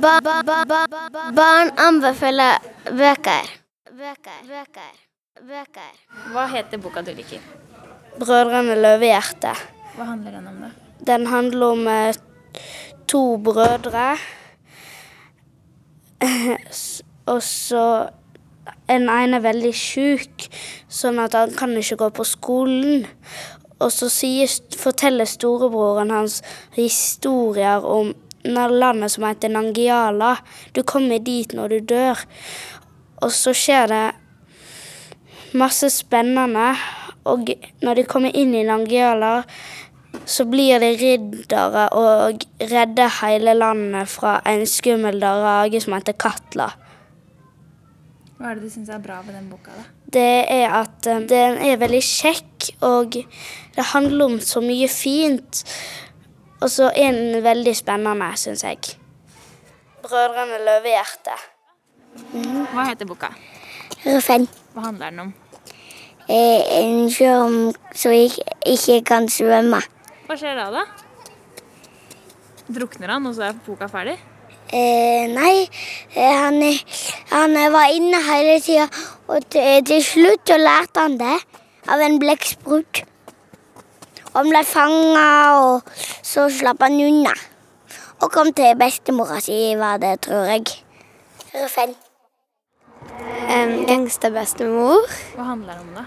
Ba, ba, ba, ba, ba, barn anbefaler bøker. Bøker. Bøker. Bøker. Hva heter boka du liker? Brødrene Løvehjerte. Hva handler den om, da? Den handler om eh, to brødre. S- Og så En ene er veldig sjuk, sånn at han kan ikke gå på skolen. Og så sier, forteller storebroren hans historier om na- landet som heter Nangiala. Du kommer dit når du dør. Og så skjer det masse spennende. Og når de kommer inn i Nangiala, så blir det riddere og redder hele landet fra en skummel drage som heter Katla. Hva er det du syns er bra ved den boka, da? Det er at eh, den er veldig kjekk, og det handler om så mye fint. Og så er den veldig spennende, syns jeg. Brødrene Løvehjerte. Hva heter boka? Ruffen. Hva handler den om? Eh, en sjø om- som ikke, ikke kan svømme. Hva skjer da, da? Drukner han, og så er boka ferdig? Eh, nei, eh, han, han var inne hele tida, og til, til slutt så lærte han det av en blekksprut. Og Han ble fanga, og så slapp han unna. Og kom til bestemora si, var det, tror jeg. Ruffen. Gangsterbestemor. Hva handler den om, da?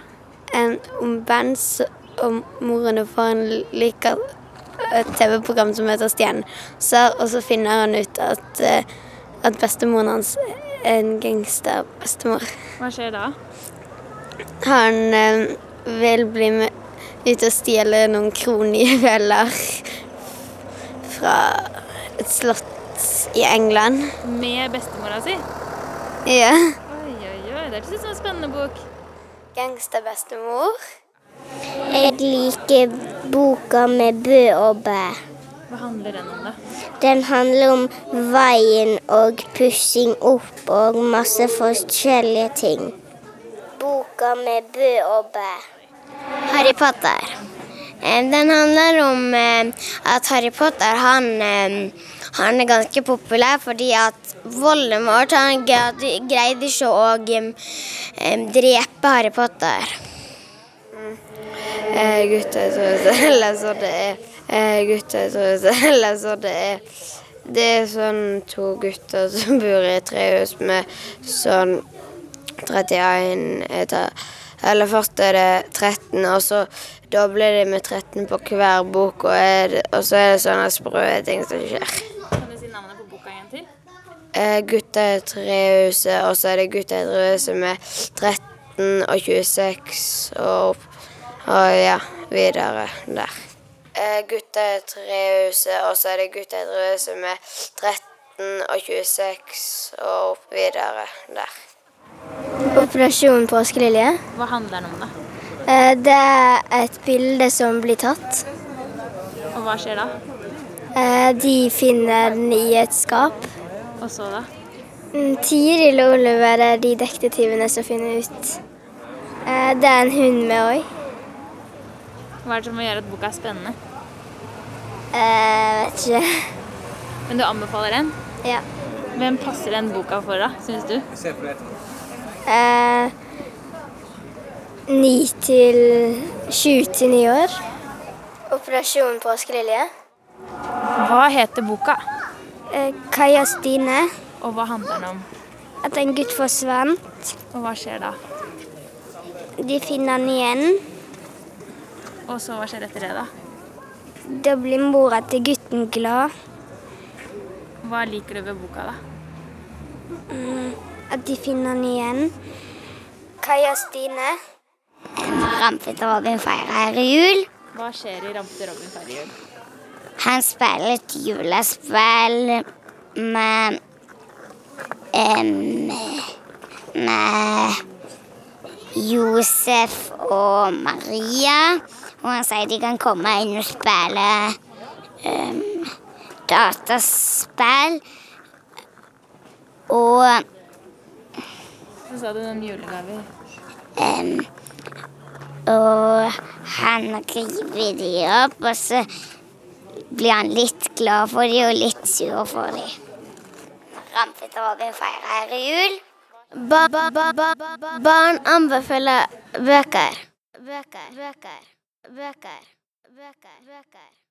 Um, om band så- og moren får en liker et TV-program som heter Stjernen. Så, og så finner han ut at, eh, at bestemoren hans er en gangsterbestemor. Hva skjer da? Han eh, vil bli med ut og stjele noen kronjuveler fra et slott i England. Med bestemora si? Ja. Oi, oi, oi. Det hørtes ut som en spennende bok. Gangsterbestemor. Jeg liker boka med bø og bæ. Hva handler den om, da? Den handler om veien og pussing opp og masse forskjellige ting. Boka med bø og bæ. Harry Potter. Eh, Den handler om eh, at Harry Potter han, eh, han er ganske populær fordi at Voldemort han greide greide ikke å eh, eh, drepe Harry Potter. Eh, Guttetruse, eller så det er. Eh, Guttetruse, eller så det er. Det er sånn to gutter som bor i et trehus med sånn 31 etasjer. Eller først er det 13, og så dobler de med 13 på hver bok. Og, er det, og så er det sånne sprø ting som skjer. Kan du si navnet på boka en gang til? Eh, Guttetrehuse, og så er det Guttetrehuse med 13 og 26 og opp. Og ja, videre der. Eh, Guttetrehuse, og så er det Guttetrehuse med 13 og 26 og opp videre der. Operasjon påskelilje. Hva handler den om, da? Det er et bilde som blir tatt. Og hva skjer da? Eh, De finner den i et skap. Og så, da? Mm, Tiril og Oliver er de detektivene som finner ut. Eh, Det er en hund med òg. Hva er det som gjør at boka er spennende? Eh, Vet ikke. Men du anbefaler den? Ja. Hvem passer den boka for, da, syns du? Eh, Ni til Sju til ni år. Operasjon påskelilje. Hva heter boka? Eh, Kaja Stine. Og hva handler den om? At en gutt forsvant. Og hva skjer da? De finner han igjen. Og så hva skjer etter det, da? Da blir mora til gutten glad. Hva liker du ved boka, da? At de finner han igjen. Kaja Stine. Rampete Robin feirer jul. Hva skjer i Ramte Robin Farrejul? Han spiller et julespill med em, Med Josef og Maria. Og han sier de kan komme inn og spille em, dataspill. Og Så sa du noen julegaver. Em, og han river de opp, og så blir han litt glad for de og litt sur for de. rampete og vi feirer jul. barn anbefaler bøker. Bøker. Bøker. Bøker. Bøker. Bøker.